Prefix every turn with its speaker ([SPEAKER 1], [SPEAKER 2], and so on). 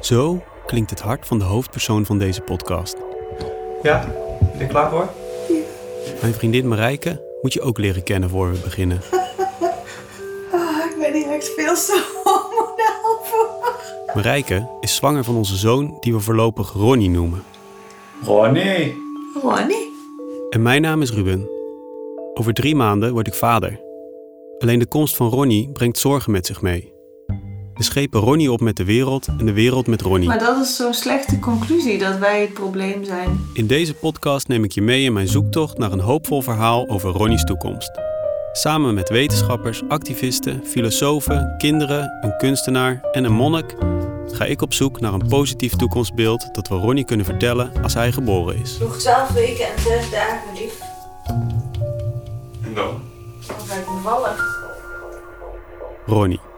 [SPEAKER 1] Zo klinkt het hart van de hoofdpersoon van deze podcast.
[SPEAKER 2] Ja, ben je klaar voor?
[SPEAKER 1] Mijn vriendin Marijke moet je ook leren kennen voor we beginnen.
[SPEAKER 3] Ah, ik ben hier echt veel te hormonaal voor.
[SPEAKER 1] Marijke is zwanger van onze zoon die we voorlopig Ronnie noemen.
[SPEAKER 2] Ronnie.
[SPEAKER 3] Ronnie?
[SPEAKER 1] En mijn naam is Ruben. Over drie maanden word ik vader. Alleen de komst van Ronnie brengt zorgen met zich mee. We schepen Ronnie op met de wereld en de wereld met Ronnie.
[SPEAKER 3] Maar dat is zo'n slechte conclusie dat wij het probleem zijn.
[SPEAKER 1] In deze podcast neem ik je mee in mijn zoektocht naar een hoopvol verhaal over Ronnie's toekomst. Samen met wetenschappers, activisten, filosofen, kinderen, een kunstenaar en een monnik ga ik op zoek naar een positief toekomstbeeld dat we Ronnie kunnen vertellen als hij geboren is.
[SPEAKER 4] Nog 12 weken en 6 dagen lief.
[SPEAKER 2] No.
[SPEAKER 4] Dan ga ik bevallen.
[SPEAKER 1] Ronnie.